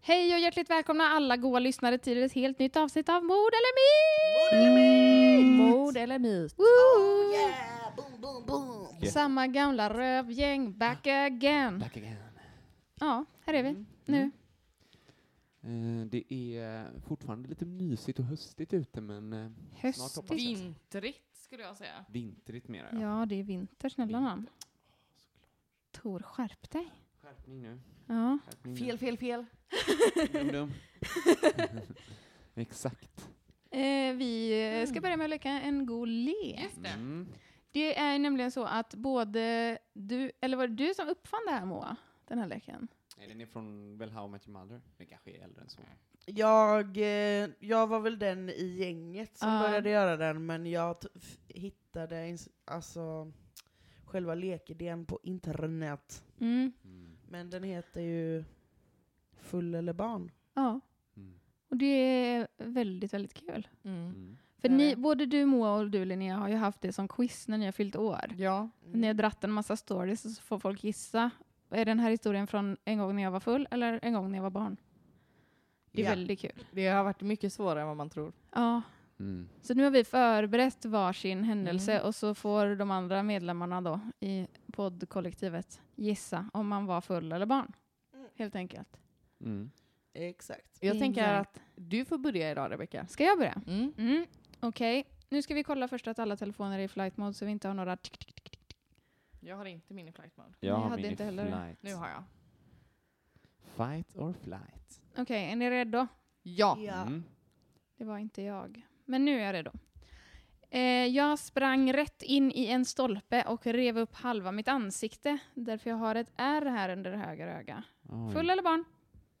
Hej och hjärtligt välkomna alla goa lyssnare till ett helt nytt avsnitt av Mord eller myt! Mord eller myt? Oh, Woo! Samma gamla rövgäng, back again. Ah. Back again. Ja, här är vi Mm. nu. Eh, det är fortfarande lite mysigt och höstigt ute, men eh, snart hoppas Höstigt. jag. Vintrigt skulle jag säga. Vintrigt mera, ja. Ja, det är vinter, snälla nån. Tor, skärp dig. Skärpning nu. Ja. Skärpning Fel, fel, fel. nu. Dum, dum. Exakt. Eh, vi eh, ska börja med att leka en god lek. Just det. Mm. Det är nämligen så att både du, eller var det du som uppfann det här Moa? Den här leken? Nej, den är från väl How I Met Your Mother. Den kanske är äldre än så. Jag, eh, jag var väl den i gänget som Ja. började göra den, men jag t- f- hittade ins- alltså, själva lekidén på internet. Mm. Mm. Men den heter ju Full eller barn. Ja. Mm. Och det är väldigt, väldigt kul. Mm. Mm. För Det är ni, det. både du Moa och du Linnea har ju haft det som quiz när ni har fyllt år. Ja. Mm. Ni har dratt en massa stories och så får folk gissa. Är den här historien från en gång när jag var full eller en gång när jag var barn? Det är Ja. väldigt kul. Det har varit mycket svårare än vad man tror. Ja. Mm. Så nu har vi förberett varsin händelse Mm. och så får de andra medlemmarna då i poddkollektivet gissa om man var full eller barn. Helt enkelt. Mm. Exakt. Jag tänker Exakt. att du får börja idag Rebecka. Ska jag börja? Mm. Mm. Okej, nu ska vi kolla först att alla telefoner är i flight mode så vi inte har några tick, tick, tick, tick. Jag har inte min i flight mode. Jag Ni har hade min i inte heller det. flight. Nu har jag. Fight or flight. Okej, är ni redo? Ja. Mm. Det var inte jag. Men nu är jag redo. Eh, jag sprang rätt in i en stolpe och rev upp halva mitt ansikte. Därför jag har ett R här under höger öga. Oj, Full eller barn?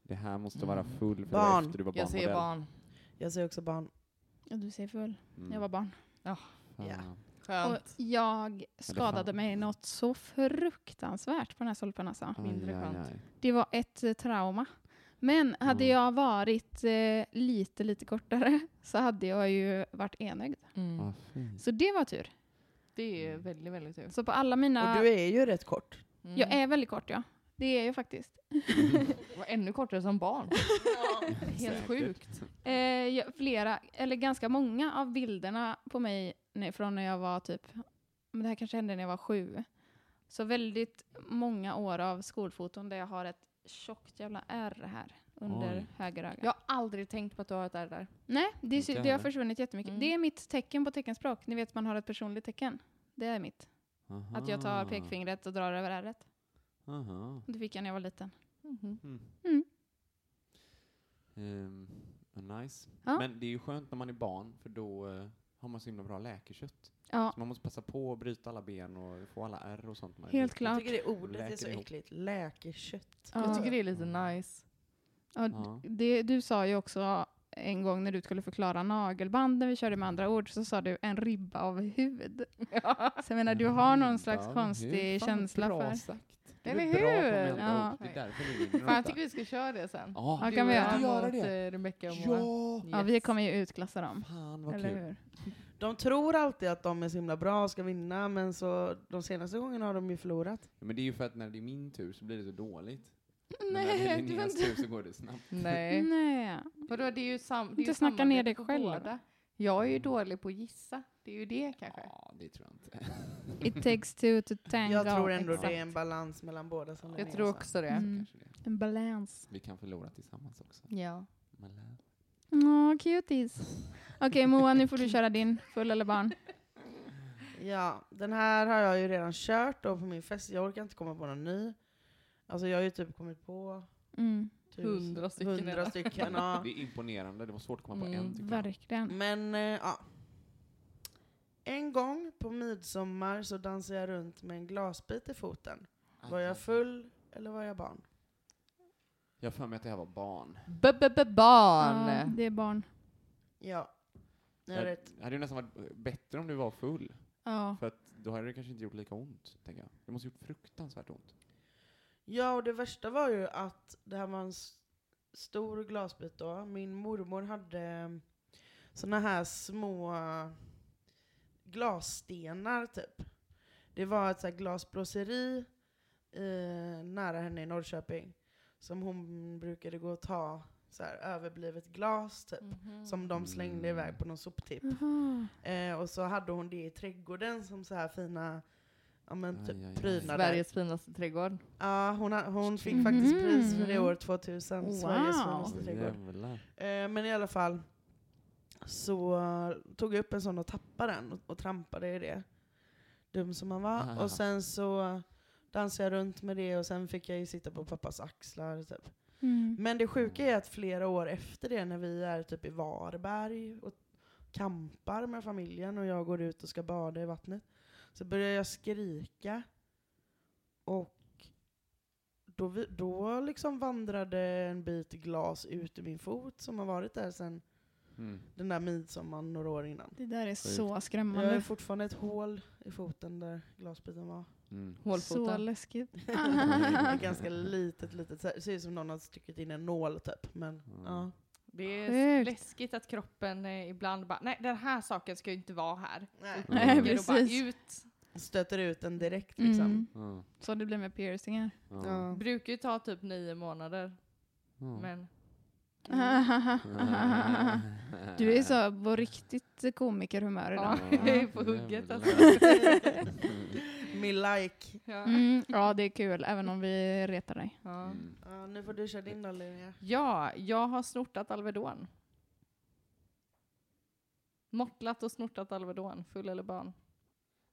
Det här måste vara Mm. full, för det Barn. var efter du var Jag säger barnmodell. barn. Jag säger också barn. Ja, du säger full. Mm. Jag var barn. Fan. Ja. Och Skönt. jag skadade fan. mig något så fruktansvärt på den här stolpen alltså. Aj, Mindre aj, skönt. aj. Det var ett eh, trauma. Men hade Mm. jag varit eh, lite, lite kortare så hade jag ju varit enögd. Mm. Vad fint. Så det var tur. Det är väldigt, väldigt tur. Så på alla mina... Och du är ju rätt kort. Mm. Jag är väldigt kort ja. Det är jag faktiskt. var ännu kortare som barn. Helt Säkert. sjukt. Eh, ja, flera, eller ganska många av bilderna på mig när- från när jag var typ, men det här kanske hände när jag var sju. Så väldigt många år av skolfoton där jag har ett tjockt jävla R här under Oj. höger öga. Jag har aldrig tänkt på att du har ett R där. Nej, det, Inte sy- det har heller. försvunnit jättemycket. Mm. Det är mitt tecken på teckenspråk. Ni vet man har ett personligt tecken. Det är mitt. Att jag tar Aha. pekfingret och drar över ärret. Aha. Det fick jag när jag var liten. Mm-hmm. Mm. Mm. Ehm, vad nice. Ja. Men det är ju skönt när man är barn, för då eh, har man så himla bra läkekött. Ja, Så man måste passa på att bryta alla ben och få alla ärr och sånt. man är helt liten. Jag klart. tycker det ordet är Läker så ihop. äckligt. Läkekött. Ja. Jag tycker det är lite nice. Ja, d- Ja. det, du sa ju också en gång när du skulle förklara nagelband, när vi körde med andra ord, så sa du en ribba av hud. Så jag menar, du har någon slags Mm. Ja, men hur konstig fan känsla bra för... Sagt. Eller är bra på hur? mina Ja. ord. Det är därför du vinner Fan, ofta. jag tycker vi ska köra det sen. Ja, Ja, Du kan vi och göra. jag Göra mot, det. eh, Rebecca och Moa. Ja! Ja, vi kommer ju utklassa dem. Fan vad eller kul. hur? De tror alltid att de är så himla bra och ska vinna, men så de senaste gångerna har de ju förlorat. Ja, men det är ju för att när det är min tur så blir det så dåligt. men när det är Nej, du får Linneas inte... tur så går det snabbt. Nej. Nej. Vadå, det är ju, sam, det är Inte ju snacka ner samarbete dig på själv. båda. Jag är ju dålig på att gissa. Det är ju det kanske. Ja, Ah, det tror jag inte. It takes two to tango. Jag tror ändå Exakt. det är en balans mellan båda som Jag Linnea tror sa. också det. Mm. Kanske det. En balans. Vi kan förlora tillsammans också. Ja. Malä. Åh, cuties. Okej Moa, nu får du köra din. Full eller barn? Ja, den här har jag ju redan kört då på min fest. Jag orkar inte komma på någon ny. Alltså jag har ju typ kommit på Mm, tusen- Hundra stycken Hundra redan. stycken ja. Det är imponerande. Det var svårt att komma på Mm, en, tycker jag. verkligen. Men eh, ja. En gång på midsommar så dansade jag runt med en glasbit i foten. Var jag full eller var jag barn? Jag har för mig att det här var barn. B-b-b-barn. Ja, det är barn. Ja. Ni har Jag- rätt. Det hade ju nästan varit eh, bättre om du var full. Ja. För att då hade det kanske inte gjort lika ont, tänker jag. Det måste ha gjort fruktansvärt ont. Ja, och det värsta var ju att det här var en s- stor glasbit då. Min mormor hade mm, såna här små glasstenar typ. Det var ett så här glasblåseri eh, nära henne i Norrköping som hon brukade gå och ta så här, överblivet glas typ. Mhm. Som de slängde iväg på någon soptipp. Mm. Jaha. Eh, och så hade hon det i trädgården som så här fina ja, men, Aj, aj, aj. typ, prydnader. Sveriges finaste trädgård. Ja, hon, har, hon fick Mhm. faktiskt pris för det år 2000, Sveriges Wow. finaste Åh, trädgård. jävlar. Eh, men i alla fall så eh, tog jag upp en sån och tappade den och, och trampade i det. Dum som man var. Ah. Och sen så eh, dansade jag runt med det och sen fick jag ju sitta på pappas axlar. Typ. Mm. Men det sjuka är att flera år efter det när vi är typ i Varberg och kampar med familjen och jag går ut och ska bada i vattnet så börjar jag skrika. Och då, vi, då liksom vandrade en bit glas ut ur min fot som har varit där sedan Mm. den där midsommaren några år innan. Det där är Sjukt. så Jag har ju skrämmande. fortfarande ett hål i foten där glasbiten var. Mm. Så Hålfoten. läskigt. Ett ganska litet, litet. så här- Det ser ut som någon har stuckit in en nål typ. Men, Mm. ja. Det är Sjukt. läskigt att kroppen eh, ibland bara, nej den här saken ska ju inte vara här. Nej. Nej, Tycker och bara, precis. ut. Stöter ut den direkt liksom. Mm. Ja, Så det blir med piercingar. ja, Ja. Brukar ju ta typ nio månader. Mm. ja. Men Mm. Du är så på riktigt komikerhumör idag. ja, jag är på hugget alltså. Me like. Ja. Mm, ja, det är kul, även om vi retar dig. Ja. Mm. Ja, nu får du köra din då Linnea. ja, jag har snortat Alvedon. Mortlat och snortat Alvedon, full eller barn.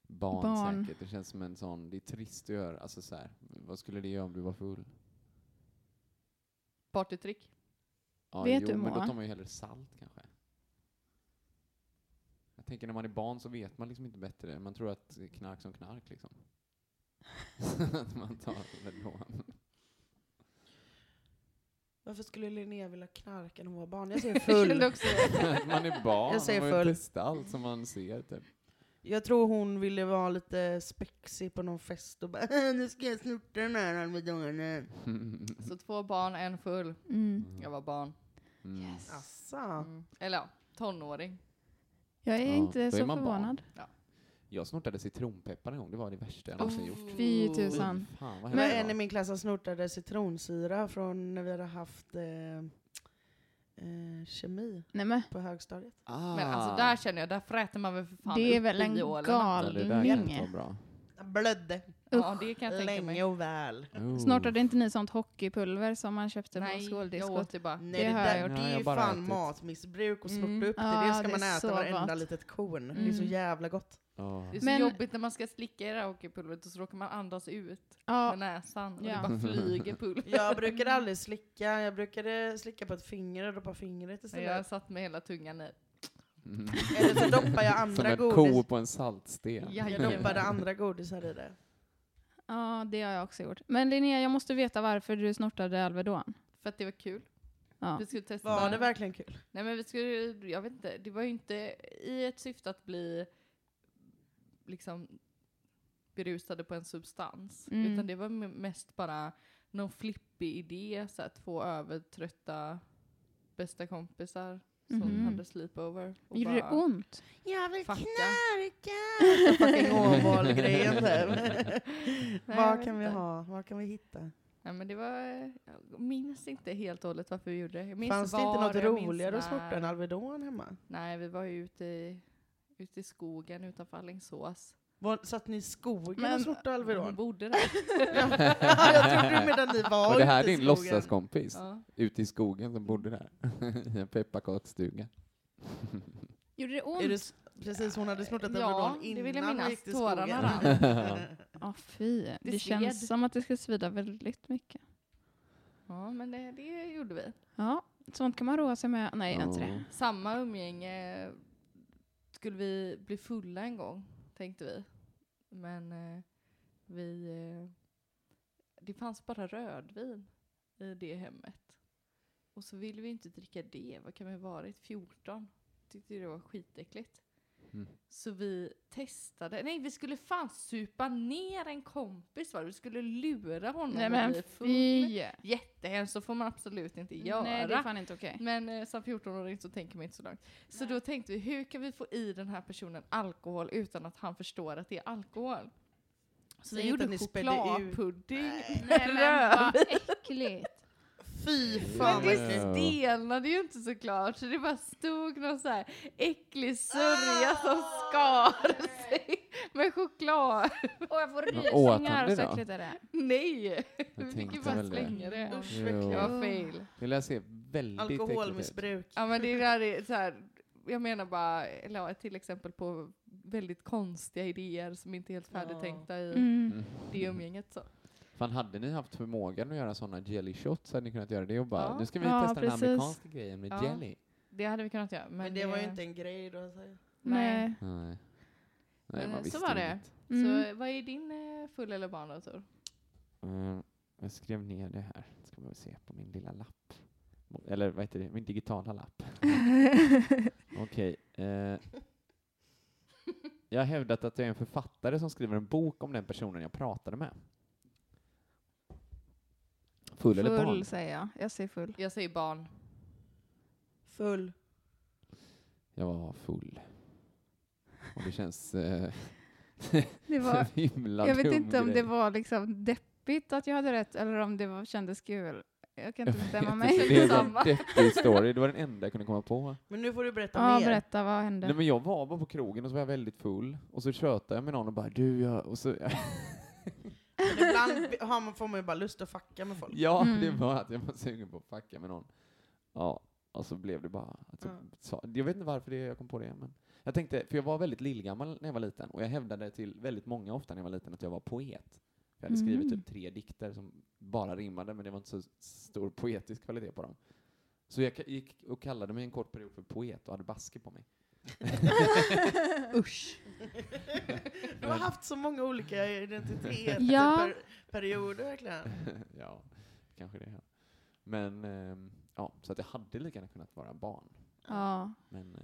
Barn, Barn. säkert. Det känns som en sån, det är trist att göra. Alltså så här, vad skulle det göra om du var full? Partytrick. Ja, Vet jo, du, men då Moa? tar man ju hellre salt kanske. Jag tänker när man är barn så vet man liksom inte bättre. Man tror att det är knark som knark liksom. att man tar Alvedon. Varför skulle Linnea vilja knarka när hon var barn? Jag säger Jag kände full. också Att man är barn, Jag säger man har full. ju testat allt som man ser typ. Jag tror hon ville vara lite spexig på någon fest och bara "Äh, nu ska jag snorta den här almedonen. mm, Så två barn, en full. Mm. Jag var barn. Mm. Asså. Mm. Eller ja, tonåring. Jag är Ja, då inte är så man barn. förvånad. Jag snortade citronpeppar en gång, det var det värsta jag Åh, någonsin Oh. gjort. Fy tusan. Fy Fan, vad Det var hemskt det en var. i min klass som snortade citronsyra från när vi hade haft eh, eh, kemi Nej, men, på högstadiet. Ah. Men alltså där känner jag, där fräter man väl för fan det är upp väl en biolerna. Ja, det där kan inte galning. vara bra. Jag blödde Ja, det kan jag tänka mig. länge och väl. Oh. Snortade inte ni sånt hockeypulver som man köpte på Nej, jag skoldiskot? åt det bara. Nej, Det det, har jag där, gjort. det Ja, är jag ju bara fan ätit. matmissbruk och snorta Mm. upp det. Ja, det ska det man är äta så varenda gott. litet korn. Det är så Mm. jävla gott. Ja. Det är så Men- jobbigt när man ska slicka i det här hockeypulvret och så råkar man andas ut Ja, med näsan och Ja. det bara flyger pulver. Jag brukade aldrig slicka, jag brukade slicka på ett finger och droppa fingret Nej, Jag istället. satt med hela tungan i. Mm. Eller så doppar jag Som andra en ko godis. på en saltsten. Ja, Jag doppade andra godisar i det. ja, det har jag också gjort. Men Linnea, jag måste veta varför du snortade Alvedon. För att det var kul. Ja. Vi skulle testa. Var det verkligen kul? Nej men vi skulle, jag vet inte, det var ju inte i ett syfte att bli liksom berusade på en substans. Mm. Utan det var m- mest bara någon flippig idé, så här, två övertrötta bästa kompisar som Mhm. hade sleepover. Och Gjorde det bara ont? Jag vill fucka. knarka! Fucking Åmål-grejen där. Nej, jag Vad vet kan vi inte. ha? Vad kan vi hitta? Nej, men det var, jag minns inte helt och hållet varför vi gjorde det. Jag minns Fanns det inte var, något jag minns roligare att när. snorta än Alvedon hemma? Nej, vi var ju ute i, ute i skogen utanför Alingsås. Var, satt ni i skogen Men- och snortade Vi Alvedon? bodde där. jag trodde medan ni var Var det här ute i din skogen. låtsaskompis? ja. Ute i skogen som bodde där? I en pepparkaksstuga? Gjorde det ont? Är det, s- precis, hon hade snortat Ja, Alvedon det vill innan jag hon minnas. gick till Tårarna skogen. rann. Ja, fy. Det, sved. känns som att det ska svida väldigt mycket. ja, men det, det gjorde vi. Ja, sånt kan man roa sig med. Nej, inte det. Samma umgänge skulle vi bli fulla en gång, tänkte vi. Men eh, vi... Eh, det fanns bara rödvin i det hemmet. Och så ville vi inte dricka det. Vad kan vi ha varit? 14? Tyckte det var skitäckligt. Mm. Så vi testade. Nej, vi skulle fan supa ner en kompis. Va? Vi skulle lura honom Nej att men bli full. fy! Jättehemskt, så får man absolut inte göra. Nej, det är fan inte okej. Men eh, som 14-åring så tänker man inte så långt. Så då tänkte vi, hur kan vi få i den här personen alkohol utan att han förstår att det är alkohol? Så Säg vi inte att gjorde ni spädde ut. chokladpudding Nej men vad rödvin. äckligt. Fy Men fan vad det äckligt. stelnade ju inte såklart, så det bara stod någon så här äcklig sörja som skar sig med choklad. Åh jag får Vad åt rysningar han det så då? äckligt är det. Nej! Jag Vi tänkte fick ju bara väl det. slänga det. Usch vad Jo. Det äckligt. var fail. Det lär se väldigt äckligt ut. Alkoholmissbruk. Ja men det där är så här, jag menar bara, eller ja, till exempel på väldigt konstiga idéer som inte är helt färdigtänkta i Mm. det umgänget så. Fan, hade ni haft förmågan att göra sådana jelly shots hade ni kunnat göra det och bara Ja. nu ska vi Ja, testa precis. den amerikanska grejen med Ja. jelly. Det hade vi kunnat göra. Men, Men det var ju inte en grej då. så här. Nej. Nej. Nej, Eh, man så visste var det. inget. Mm. Så vad är din eh, full eller barn då Tor? Mm, jag skrev ner det här. Ska man väl se på min lilla lapp. Mo- Eller vad heter det? Min digitala lapp. Okej. eh, jag har hävdat att jag är en författare som skriver en bok om den personen jag pratade med. Full, eller barn? Full säger jag. Jag säger full. Jag säger barn. Full. Jag var full. Och det känns eh, Det var, en himla jag vet dum inte om grej. det var liksom deppigt att jag hade rätt eller om det var, kändes kul. Jag kan inte bestämma mig. Det är en sån Samma. deppig story. Det var den enda jag kunde komma på. Men nu får du berätta Ja, mer. berätta vad hände? Nej, men jag var bara på krogen och så var jag väldigt full. Och så tjötade jag med någon och bara du, jag... Och så, Men ibland har man, får man ju bara lust att fucka med folk. ja, Mm. det var att jag var sugen på att fucka med någon. Ja, och så blev det bara att jag Ja. sa... Jag vet inte varför det, jag kom på det, men... Jag tänkte, för jag var väldigt lillgammal när jag var liten och jag hävdade till väldigt många ofta när jag var liten att jag var poet. Jag hade skrivit Mm. typ tre dikter som bara rimmade men det var inte så stor poetisk kvalitet på dem. Så jag ka- gick och kallade mig en kort period för poet och hade basker på mig. Usch. Du har haft så många olika identiteter Ja. per, perioder verkligen. ja, kanske det. Ja. Men ehm, ja, så att jag hade lika gärna kunnat vara barn. Ja. Men eh,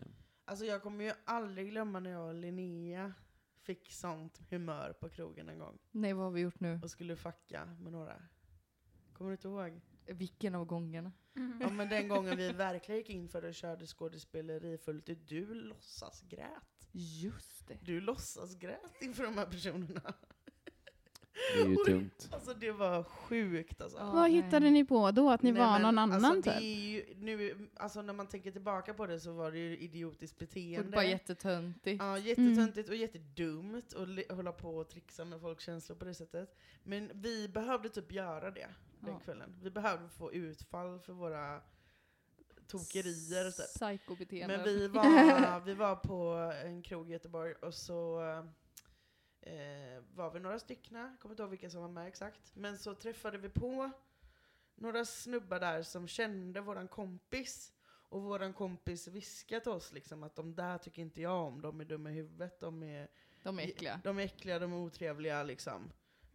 Alltså jag kommer ju aldrig glömma när jag och Linnea fick sånt humör på krogen en gång Nej vad har vi gjort nu? och skulle fucka med några. Kommer du inte ihåg? Vilken av gångerna? Mm. Ja men den gången vi verkligen gick in för och körde skådespeleri fullt ut, du låtsas grät. Just det. Du låtsas grät inför de här personerna. det är ju Oj. tungt. Alltså det var sjukt alltså. Ja, Vad nej. hittade ni på då? Att ni Nej, var men någon annan alltså, Det typ? är ju, nu, alltså när man tänker tillbaka på det så var det ju idiotiskt Det beteende. var jättetöntigt. Mm. Ja, jättetöntigt och jättedumt att li- hålla på och trixa med folks känslor på det sättet. Men vi behövde typ göra det den Ja. kvällen. Vi behövde få utfall för våra tokerier. Typ. Psykobeteenden. Men vi var, vi var på en krog i Göteborg och så eh, var vi några styckna, kommer inte ihåg vilka som var med exakt. Men så träffade vi på några snubbar där som kände våran kompis. Och våran kompis viskade till oss liksom att de där tycker inte jag om, de är dumma i huvudet, de är, De är äckliga. de är äckliga, de är otrevliga liksom.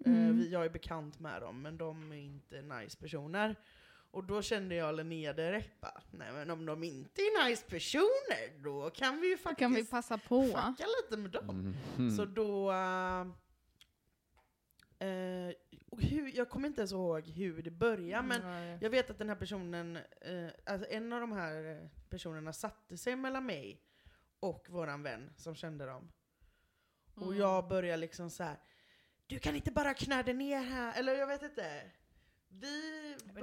Mm. Eh, vi- jag är bekant med dem, men de är inte nice personer. Och då kände jag Linnea direkt bara, nej men om de inte är nice personer, då kan vi ju Då faktiskt kan vi passa på. fucka lite med dem. Mm-hmm. Mm. Så då... eh, eh, och hur, jag kommer inte ens ihåg hur det började, men Nej. jag vet att den här personen, eh, alltså en av de här eh, personerna satte sig mellan mig och våran vän som kände dem. Och Mm. jag började liksom så här. du kan inte bara knöda ner här, eller jag vet inte.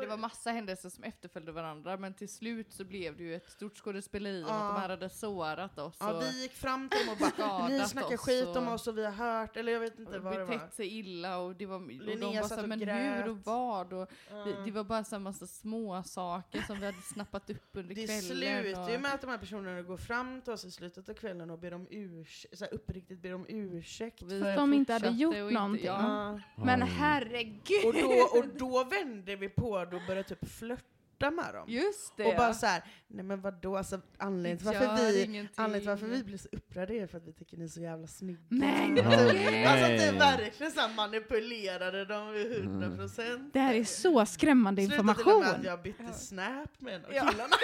var massa händelser som efterföljde varandra, men till slut så blev det ju ett stort skådespeleri om Ja. att de här hade sårat oss Ja, och vi gick fram till dem och bara, Skadat ni snackar oss skit och- om oss och vi har hört, eller jag vet inte och vad det var. betett sig illa och, det var, och de Linnea var satt så här, och men grät." hur och vad? Och vi, Ja. det var bara så här massa små saker som vi hade snappat upp under Det kvällen. slutar och, ju med att de här personerna går fram till oss i slutet av kvällen och ber om ursäkt, så här uppriktigt ber om ursäkt. och vi Fast de inte hade fortsatte gjort och någonting. ja. Ja. Men herregud! Och, då, och då vände vi på det och började typ flörta med dem. Just det! och bara så här, nej men vadå, alltså, anledningen till Gör varför vi ingenting. Anledningen till varför vi blir så upprörda är för att vi tycker ni är så jävla snygga. Men gud! Typ. alltså att det verkligen så här manipulerade dem i 100 procent. Det här är så skrämmande till och typ med att information. jag bytte snap med en av killarna.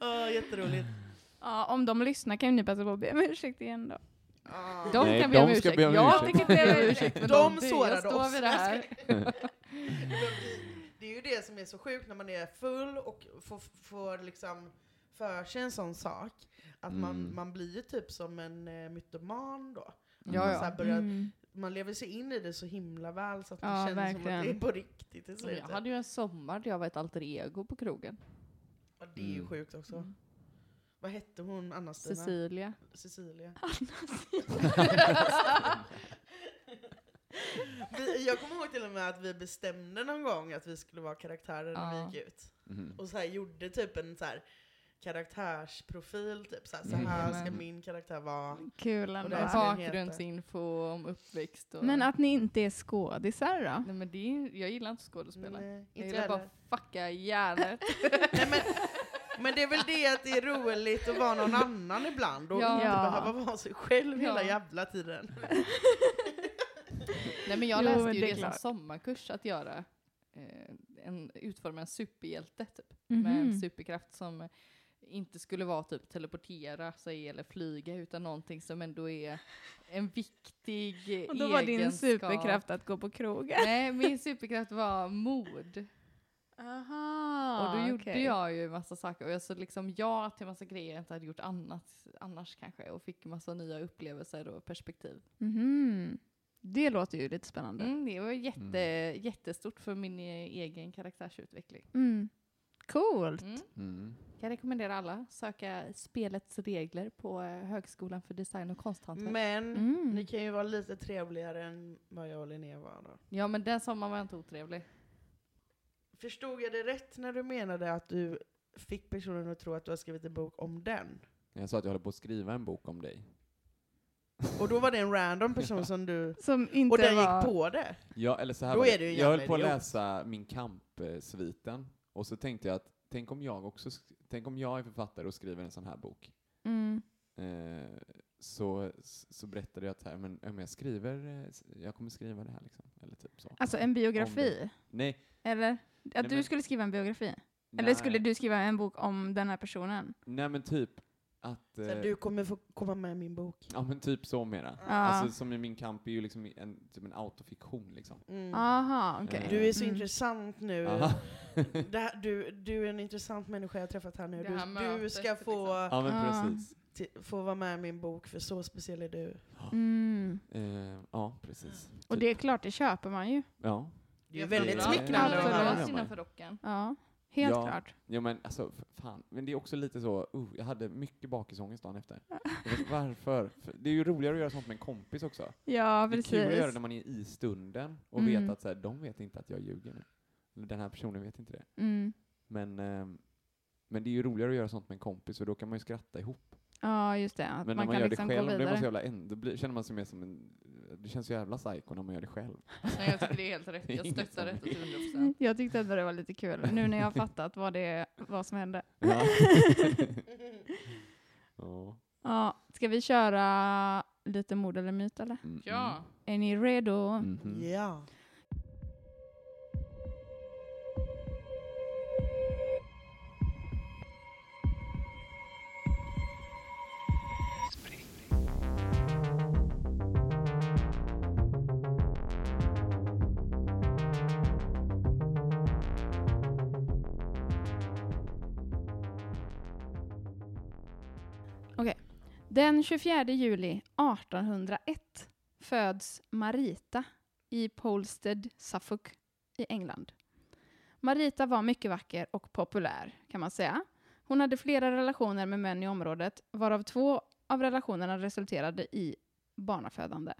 Ja, jätteroligt. Ja, om de lyssnar kan ju ni passa på att be om ursäkt igen då. Ja. De Nej, kan be om de ska ursäkt. be om jag ursäkt. Mm. tänker inte be om ursäkt. men De det- jag sårade står oss. vid det här. Det är ju det som är så sjukt när man är full och får, får liksom för sig en sån sak. Att man, Mm. man blir ju typ som en eh, mytoman då. Ja, Så ja. här börjar, Man lever sig in i det så himla väl så att det Ja, känns som att det är verkligen. på riktigt i Men Jag slutet. hade ju en sommar där jag var ett alter ego på krogen. Ja, det är ju Mm. sjukt också. Mm. Vad hette hon, Anna-Stina? Cecilia. Cecilia. vi, jag kommer ihåg till och med att vi bestämde någon gång att vi skulle vara karaktärer när Ja. vi gick ut. Mm. Och så här gjorde typ en så här karaktärsprofil, typ så här, så Mm. här ska Jajamän. min karaktär vara. Kul Och ändå. det Med är- bakgrundsinfo om uppväxt och... Men att ni inte är skådisar då? Nej, men det är, jag gillar inte skådespelare. Nej, jag inte gillar bara heller. att fucka hjärnet. Nej, men, men det är väl det att det är roligt att vara någon annan ibland och Ja. inte Ja. behöva vara sig själv hela Ja. jävla tiden. Nej men jag Jo, läste men ju det det, är som klart. sommarkurs att göra. Eh, en, utforma en superhjälte typ. Med Mhm. en superkraft som inte skulle vara typ teleportera sig eller flyga utan någonting som ändå är en viktig eh, Och då var din egenskap. superkraft att gå på krogen. Nej, min superkraft var mod. Aha, och då gjorde jag ju massa saker och jag sa liksom ja till massa grejer jag inte hade gjort annat, annars kanske och fick massa nya upplevelser och perspektiv. Mhm. Det låter ju lite spännande. Mm, det var jätte, Mm. jättestort för min eh, egen karaktärsutveckling. Mm. Coolt. Mm. Mm. Jag rekommenderar alla söka spelets regler på eh, Högskolan för design och konsthantverk. Men Mm. ni kan ju vara lite trevligare än vad jag och Linnea var då. Ja men den sommaren var jag inte otrevlig. Förstod jag det rätt när du menade att du fick personen att tro att du har skrivit en bok om den? Jag sa att jag håller på att skriva en bok om dig. Och då var det en random person som du... Som inte Och den var... gick på det. Ja, eller så här Då var är du ju en jag höll jävla på att idiot. läsa Min kamp-sviten, och så tänkte jag att tänk om jag också, sk- tänk om jag är författare och skriver en sån här bok. Mm. Eh, så, så berättade jag att så här, men, ja, men jag skriver, eh, s- jag kommer skriva det här liksom. Eller typ så. Alltså en Om biografi? Nej. Eller? Att Nej, du men- skulle skriva en biografi? Eller nej, skulle du skriva en bok om den här personen? Nej men typ att... Så eh, här, du Ah. kommer få komma med i min bok. Ja men typ så mera. Ja. Alltså som i Min kamp är ju liksom en, typ en autofiktion liksom. Mm. Aha, Ah, okej. Eh, Du är så Mm. intressant nu. Aha. Det här, du, du är en intressant människa jag har träffat här nu. Det här Du, du mötet, ska få, ja men Ah. precis. ti- få vara med i min bok för så speciell är du. Mm. Eh, ja precis. Typ, Och det är klart, det köper man ju. Ja. Det är väldigt Ja, smickrande ja, att ja. höra. man. innanför rocken. Ja, helt Ja. klart. Ja men alltså, f- fan. Men det är också lite så, uh, jag hade mycket bakisångest dagen efter. Jag vet, varför? För det är ju roligare att göra sånt med en kompis också. Ja, Det är kul att göra det precis. när man är i stunden och Mm. vet att så här, de vet inte att jag ljuger nu. Eller Den här personen vet inte det. Mm. Men, ehm, men det är ju roligare att göra sånt med en kompis och då kan man ju skratta ihop. Ja, just det. Att man, Men när man kan gör liksom det gå själv, då, är man så vidare. jävla en, då blir, känner man sig mer som en... Det känns så jävla psycho när man gör det själv. Nej, jag tycker det är helt rätt. Det är Jag inget stöttar som- detta till 100%. Jag tyckte att det var lite kul, nu när jag har fattat vad, det, vad som hände. Ja. Ja. Ja, ska vi köra lite mord eller myt eller? Mm, Ja. Är ni redo? mm, mhm. Ja. Den 24 juli 1801 föds Marita i Polsted, Suffolk i England. Marita var mycket vacker och populär, kan man säga. Hon hade flera relationer med män i området, varav två av relationerna resulterade i barnafödande.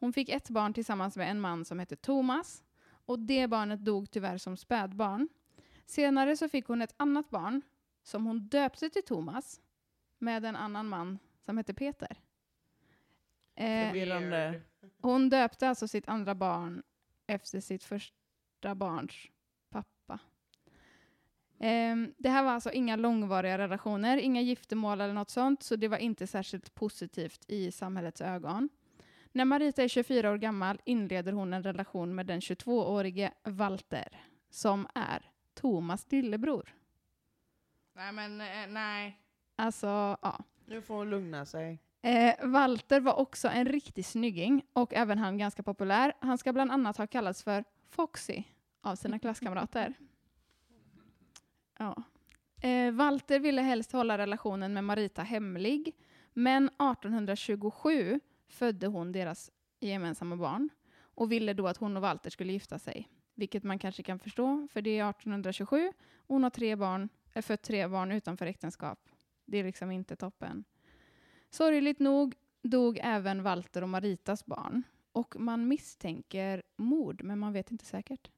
Hon fick ett barn tillsammans med en man som hette Thomas och det barnet dog tyvärr som spädbarn. Senare så fick hon ett annat barn som hon döpte till Thomas med en annan man som hette Peter. Eh, Förvirrande. hon döpte alltså sitt andra barn efter sitt första barns pappa. Ehm, det här var alltså inga långvariga relationer, inga giftermål eller något sånt, så det var inte särskilt positivt i samhällets ögon. När Marita är 24 år gammal inleder hon en relation med den 22-årige Walter, som är Thomas lillebror. Nej men eh, nej. Alltså, ja. Nu får hon lugna sig. Eh, Walter var också en riktig snygging och även han ganska populär. Han ska bland annat ha kallats för Foxy av sina klasskamrater. Ja. Eh, Walter ville helst hålla relationen med Marita hemlig, men 1827 födde hon deras gemensamma barn och ville då att hon och Walter skulle gifta sig. Vilket man kanske kan förstå, för det är 1827 och hon har tre barn, är fött tre barn utanför äktenskap. Det är liksom inte toppen. Sorgligt nog dog även Walter och Maritas barn. Och man misstänker mord, men man vet inte säkert.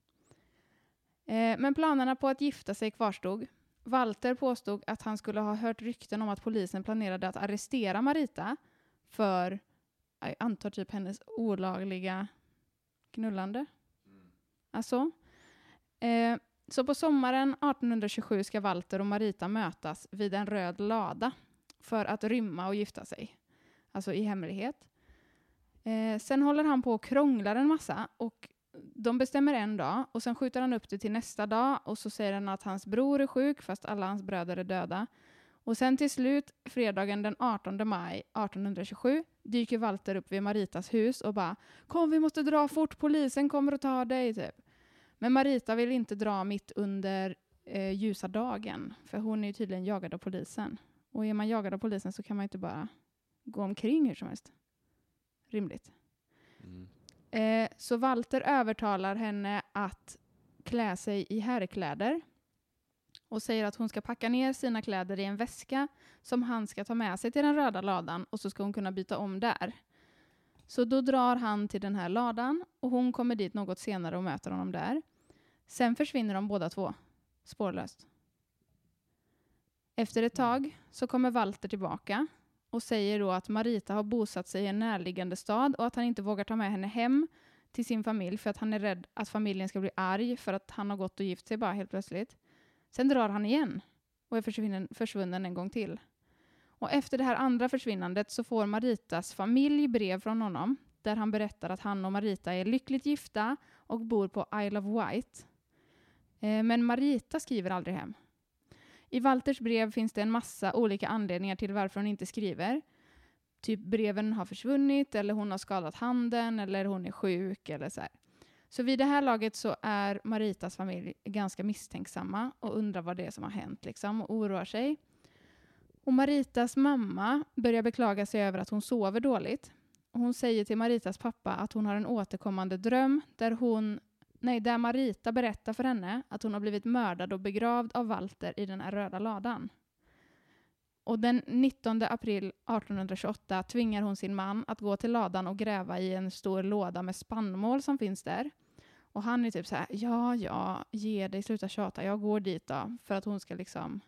Eh, men planerna på att gifta sig kvarstod. Walter påstod att han skulle ha hört rykten om att polisen planerade att arrestera Marita för, jag antar typ hennes olagliga knullande. Alltså. Eh, så på sommaren 1827 ska Walter och Marita mötas vid en röd lada för att rymma och gifta sig. Alltså i hemlighet. Eh, sen håller han på och krånglar en massa och de bestämmer en dag och sen skjuter han upp det till nästa dag och så säger han att hans bror är sjuk fast alla hans bröder är döda. Och sen till slut, fredagen den 18 maj 1827, dyker Walter upp vid Maritas hus och bara “Kom vi måste dra fort, polisen kommer och tar dig” typ. Men Marita vill inte dra mitt under eh, ljusa dagen, för hon är ju tydligen jagad av polisen. Och är man jagad av polisen så kan man inte bara gå omkring hur som helst. Rimligt. Mm. Eh, så Walter övertalar henne att klä sig i herrkläder och säger att hon ska packa ner sina kläder i en väska som han ska ta med sig till den röda ladan och så ska hon kunna byta om där. Så då drar han till den här ladan och hon kommer dit något senare och möter honom där. Sen försvinner de båda två, spårlöst. Efter ett tag så kommer Walter tillbaka och säger då att Marita har bosatt sig i en närliggande stad och att han inte vågar ta med henne hem till sin familj för att han är rädd att familjen ska bli arg för att han har gått och gift sig bara helt plötsligt. Sen drar han igen och är försvunnen, försvunnen en gång till. Och efter det här andra försvinnandet så får Maritas familj brev från honom där han berättar att han och Marita är lyckligt gifta och bor på Isle of Wight. Eh, Men Marita skriver aldrig hem. I Walters brev finns det en massa olika anledningar till varför hon inte skriver. Typ breven har försvunnit, eller hon har skadat handen, eller hon är sjuk, eller så här. Så vid det här laget så är Maritas familj ganska misstänksamma och undrar vad det är som har hänt liksom, och oroar sig. Och Maritas mamma börjar beklaga sig över att hon sover dåligt. Och Hon säger till Maritas pappa att hon har en återkommande dröm där hon Nej, där Marita berättar för henne att hon har blivit mördad och begravd av Walter i den här röda ladan. Och den 19 april 1828 tvingar hon sin man att gå till ladan och gräva i en stor låda med spannmål som finns där. Och han är typ så här, ja, ja, ge dig, sluta tjata, jag går dit då. För att hon ska liksom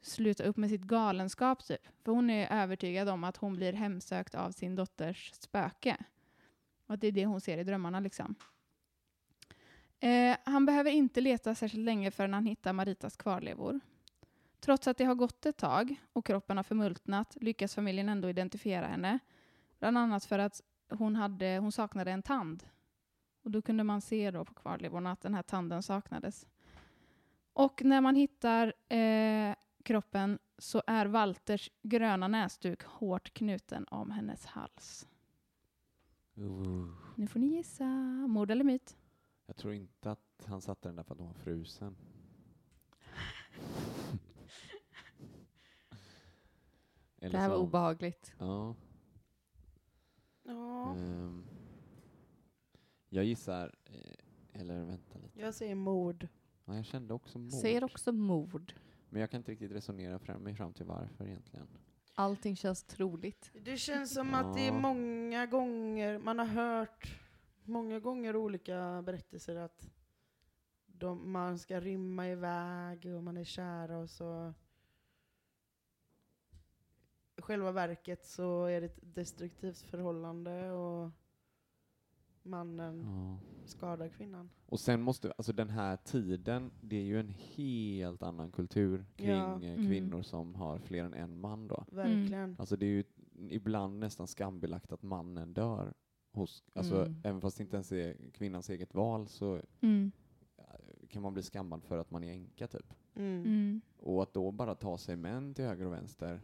sluta upp med sitt galenskap typ. För hon är övertygad om att hon blir hemsökt av sin dotters spöke. Och att det är det hon ser i drömmarna liksom. Eh, han behöver inte leta särskilt länge förrän han hittar Maritas kvarlevor. Trots att det har gått ett tag och kroppen har förmultnat lyckas familjen ändå identifiera henne. Bland annat för att hon, hade, hon saknade en tand. Och då kunde man se då på kvarlevorna att den här tanden saknades. Och när man hittar eh, kroppen så är Walters gröna näsduk hårt knuten om hennes hals. Ooh. Nu får ni gissa. Mord eller myt? Mm. Jag tror inte att han satte den där för att hon var frusen. Eller Det här var så- obehagligt. Ja. Ja. Mm. ehm. jag gissar, eh, eller vänta lite. Jag säger mord. Ja, jag kände också mord. Säger också mord. Men jag kan inte riktigt resonera fram mig fram till varför egentligen. Allting känns troligt. Det känns som att det är Ja. många gånger, man har hört många gånger olika berättelser att de, man ska rymma iväg och man är kära och så i själva verket så är det ett destruktivt förhållande och Mm. mannen Ja. skadar kvinnan. Och sen måste, alltså den här tiden, det är ju en helt annan kultur kring Ja. eh, Mm. kvinnor som har fler än en man då. Verkligen. Alltså det är ju ibland nästan skambelagt att mannen dör. Hos, alltså Mm. även fast det inte ens är kvinnans eget val så Mm. kan man bli skammad för att man är änka typ. Mm. Mm. Och att då bara ta sig män till höger och vänster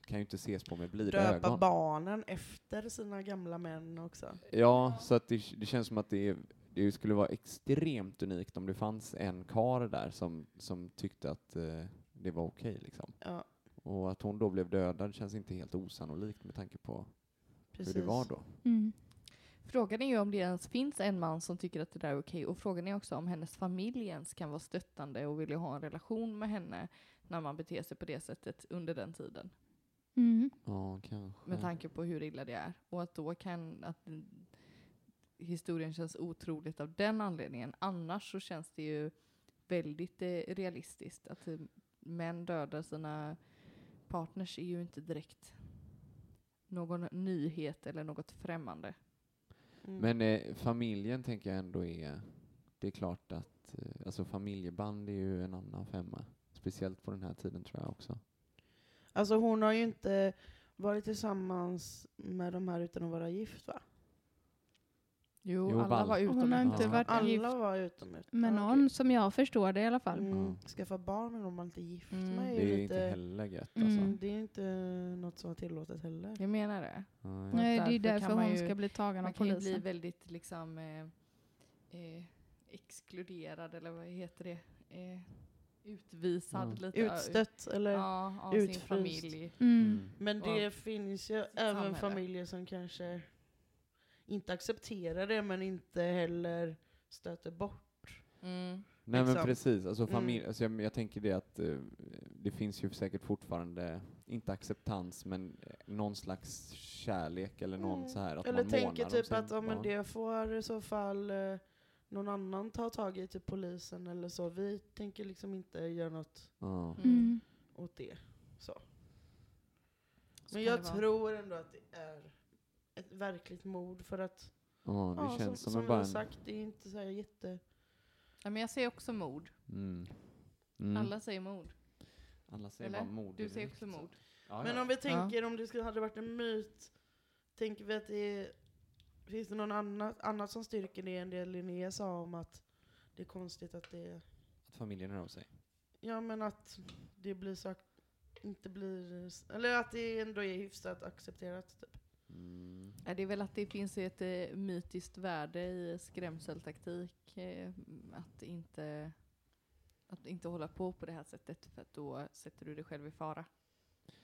kan ju inte ses på med blida Döpa ögon. barnen efter sina gamla män också. Ja, så att det, det känns som att det, är, det skulle vara extremt unikt om det fanns en kar där som, som tyckte att eh, det var okej. liksom. Ja, Och att hon då blev dödad känns inte helt osannolikt med tanke på precis. hur det var då. Mm. Frågan är ju om det ens finns en man som tycker att det där är okej. Och frågan är också om hennes familj ens kan vara stöttande och vilja ha en relation med henne när man beter sig på det sättet under den tiden. Mm. Ja, kanske. Med tanke på hur illa det är. Och att då kan att historien känns otroligt av den anledningen. Annars så känns det ju väldigt eh, realistiskt. Att eh, män dödar sina partners är ju inte direkt någon nyhet eller något främmande. Mm. Men eh, familjen tänker jag ändå är... Det är klart att eh, alltså familjeband är ju en annan femma. Speciellt på den här tiden tror jag också. Alltså hon har ju inte varit tillsammans med de här utan att vara gift va? Jo, Jo, alla Val. var Hon har utomlands. inte Ja. varit gift Alla var utomhus. med Ja, någon, som jag förstår det i alla fall. okej. Mm. Mm. Skaffa barn med någon man inte är gift Mm. med Det är är, inte ju lite... heller gött Mm. alltså. Det är inte något som var tillåtet heller. Jag menar det. Nej. Nej, det är ju Därför därför kan man hon ju- ska bli tagen av Man kan ju bli polisen. väldigt liksom eh, eh, exkluderad eller vad heter det? Eh, utvisad Mm. lite. Utstött eller? Ja, av sin utfryst. familj. Mm. Mm. Men det Ja. finns ju Sitt även samhälle. familjer som kanske inte accepterar det men inte heller stöter bort. Mm. Nej men Liksom. precis, alltså Mm. familj, alltså jag, jag tänker det att eh, det finns ju säkert fortfarande, inte acceptans, men eh, någon slags kärlek eller någon Mm. så här att Eller man tänker månar typ sin att ja, men barn. det får i så fall eh, någon annan ta tag i, typ polisen eller så. Vi tänker liksom inte göra något Ja. Mm. åt det. Så. Så Men kan jag det vara. tror ändå att det är ett verkligt mord för att, Ja, det ja, känns som, som, som en vi bara har en... sagt, det är inte så här jätte... Ja, men jag säger också mord. Mm. Mm. Alla säger mord. Alla säger Eller? bara mord. Du säger direkt, också så. mord. Ja, Men ja. om vi tänker om det skulle, hade varit en myt, tänker vi att det är, finns det något annat, annat som styrker det än det Linnea sa om att det är konstigt att det, Att familjen hör av sig. ja men att det blir så, ac- inte blir, eller att det ändå är hyfsat accepterat typ. Mm. Ja, det är väl att det finns ett eh, mytiskt värde i skrämseltaktik. Eh, att, inte, att inte hålla på på det här sättet för att då sätter du dig själv i fara.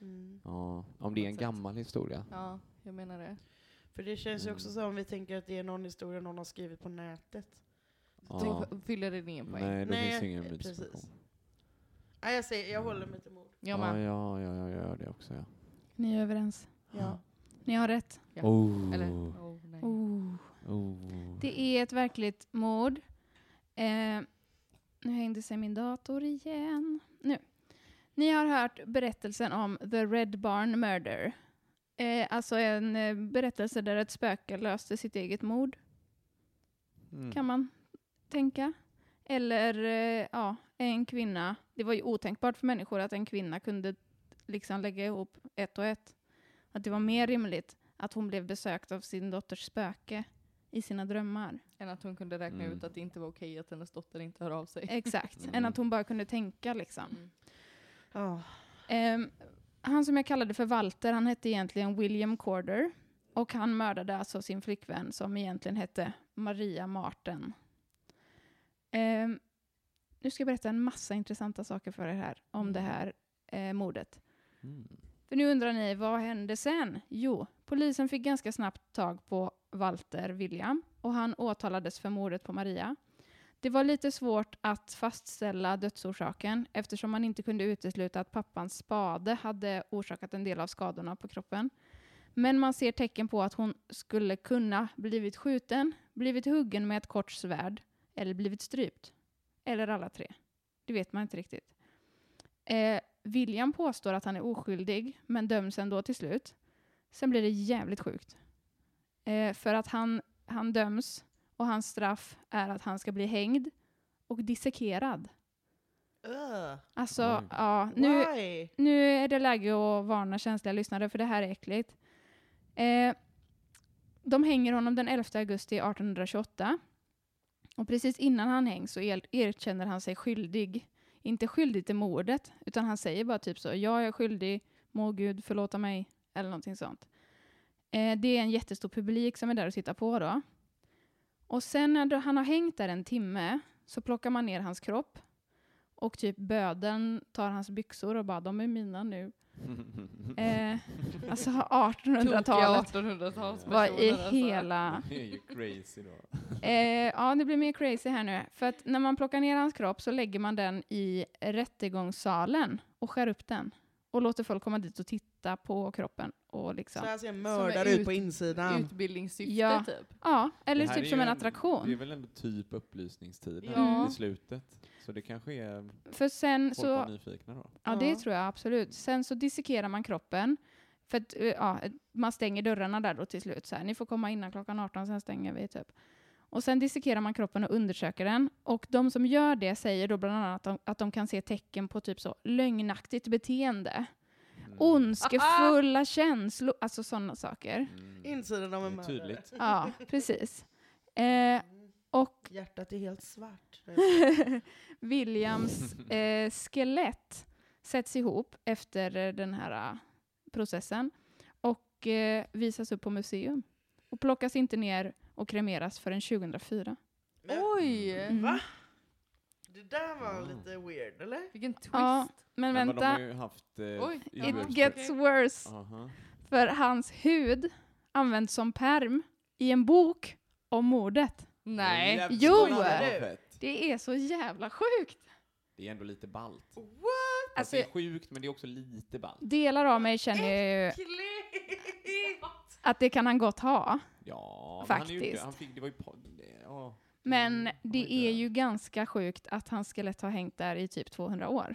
Mm. Ja, om det är en Exakt. gammal historia. Ja, jag menar det. För det känns ju Mm. också som om vi tänker att det är någon historia någon har skrivit på nätet. Ja. Då fyller det ingen poäng. Nej, då Nej, finns ju ingen eh, mytsproduktion. precis. Nej jag säger, jag håller mig till mord. Jag Ja, med. ja, ja, jag gör det också. Ja. Ni är överens. Ja. Ni har rätt. Ja. Oh. Eller? Oh, nej. Oh. Oh. Det är ett verkligt mord. Eh, nu hängde sig min dator igen. Nu. Ni har hört berättelsen om The Red Barn Murder. Eh, alltså en eh, berättelse där ett spöke löste sitt eget mord, Mm. kan man tänka. Eller eh, ja, en kvinna. Det var ju otänkbart för människor att en kvinna kunde liksom lägga ihop ett och ett. Att det var mer rimligt att hon blev besökt av sin dotters spöke i sina drömmar. Än att hon kunde räkna Mm. ut att det inte var okej att hennes dotter inte hör av sig. Exakt, Mm. än att hon bara kunde tänka liksom. Mm. Ja. Ehm, han som jag kallade för Walter, han hette egentligen William Corder. Och han mördade alltså sin flickvän som egentligen hette Maria Marten. Ehm, nu ska jag berätta en massa intressanta saker för er här om det här eh, mordet. Mm. För nu undrar ni, vad hände sen? Jo, polisen fick ganska snabbt tag på Walter William och han åtalades för mordet på Maria. Det var lite svårt att fastställa dödsorsaken eftersom man inte kunde utesluta att pappans spade hade orsakat en del av skadorna på kroppen. Men man ser tecken på att hon skulle kunna blivit skjuten, blivit huggen med ett kort svärd eller blivit strypt. Eller alla tre. Det vet man inte riktigt. Eh, William påstår att han är oskyldig men döms ändå till slut. Sen blir det jävligt sjukt. Eh, för att han, han döms och hans straff är att han ska bli hängd och dissekerad. Ugh, Alltså, Oj. ja, nu, why? nu är det läge att varna känsliga lyssnare för det här är äckligt. Eh, de hänger honom den 11 augusti 1828. Och precis innan han hängs så el- erkänner han sig skyldig. Inte skyldig till mordet, utan han säger bara typ så, jag är skyldig, må Gud förlåta mig, eller någonting sånt. Eh, det är en jättestor publik som är där och tittar på då. Och sen när han har hängt där en timme så plockar man ner hans kropp och typ böden tar hans byxor och bara, de är mina nu. Mm. Eh, alltså Tokiga 1800-talet 1800-talspersoner. var i alltså. hela... Det är ju crazy då. Eh, ja, det blir mer crazy här nu. För att när man plockar ner hans kropp så lägger man den i rättegångssalen och skär upp den. Och låter folk komma dit och titta på kroppen. Och Så liksom. här ser Som är mördare ut på ut- insidan. Utbildningssyfte Ja. typ. Ja, eller Det här typ är som ju en Det är attraktion. väl ändå typ upplysningstiden Ja. i slutet. Så det kanske är folk För sen så... var så, nyfikna då. ja det Ja. tror jag absolut. Sen så dissekerar man kroppen. För att eh, ja, man stänger dörrarna där då till slut. Så här, ni får komma innan klockan 18, sen stänger vi typ. Och sen dissekerar man kroppen och undersöker den. Och de som gör det säger då bland annat att de, att de kan se tecken på typ så lögnaktigt beteende. Mm. Ondskefulla känslor, alltså sådana saker. Mm. Insidan av en Det är mördare. tydligt. Ja, precis. Eh, Mm. och Hjärtat är helt svart. Williams eh, skelett sätts ihop efter eh, den här eh, processen och eh, visas upp på museum. Och plockas inte ner och kremeras förrän 2004. Oj! Mm. Va? Det där var Mm. lite weird, eller? Vilken twist. Ja, Men Men de har vänta, ju haft... Eh, Oj, i- ja. it urspr- gets worse. Aha. För hans hud används som perm i en bok om mordet. Nej. Jävlar, Jo! vad fett. Det är så jävla sjukt! Det är ändå lite ballt. Fast Alltså, det är sjukt, men det är också lite ballt. Delar av mig känner ju att det kan han gott ha. Ja, men Han är ju, Faktiskt. han fick, det var ju... pod- det- ja. Men Mm, han var det är död. ju ganska sjukt att hans skelett har hängt där i typ 200 år.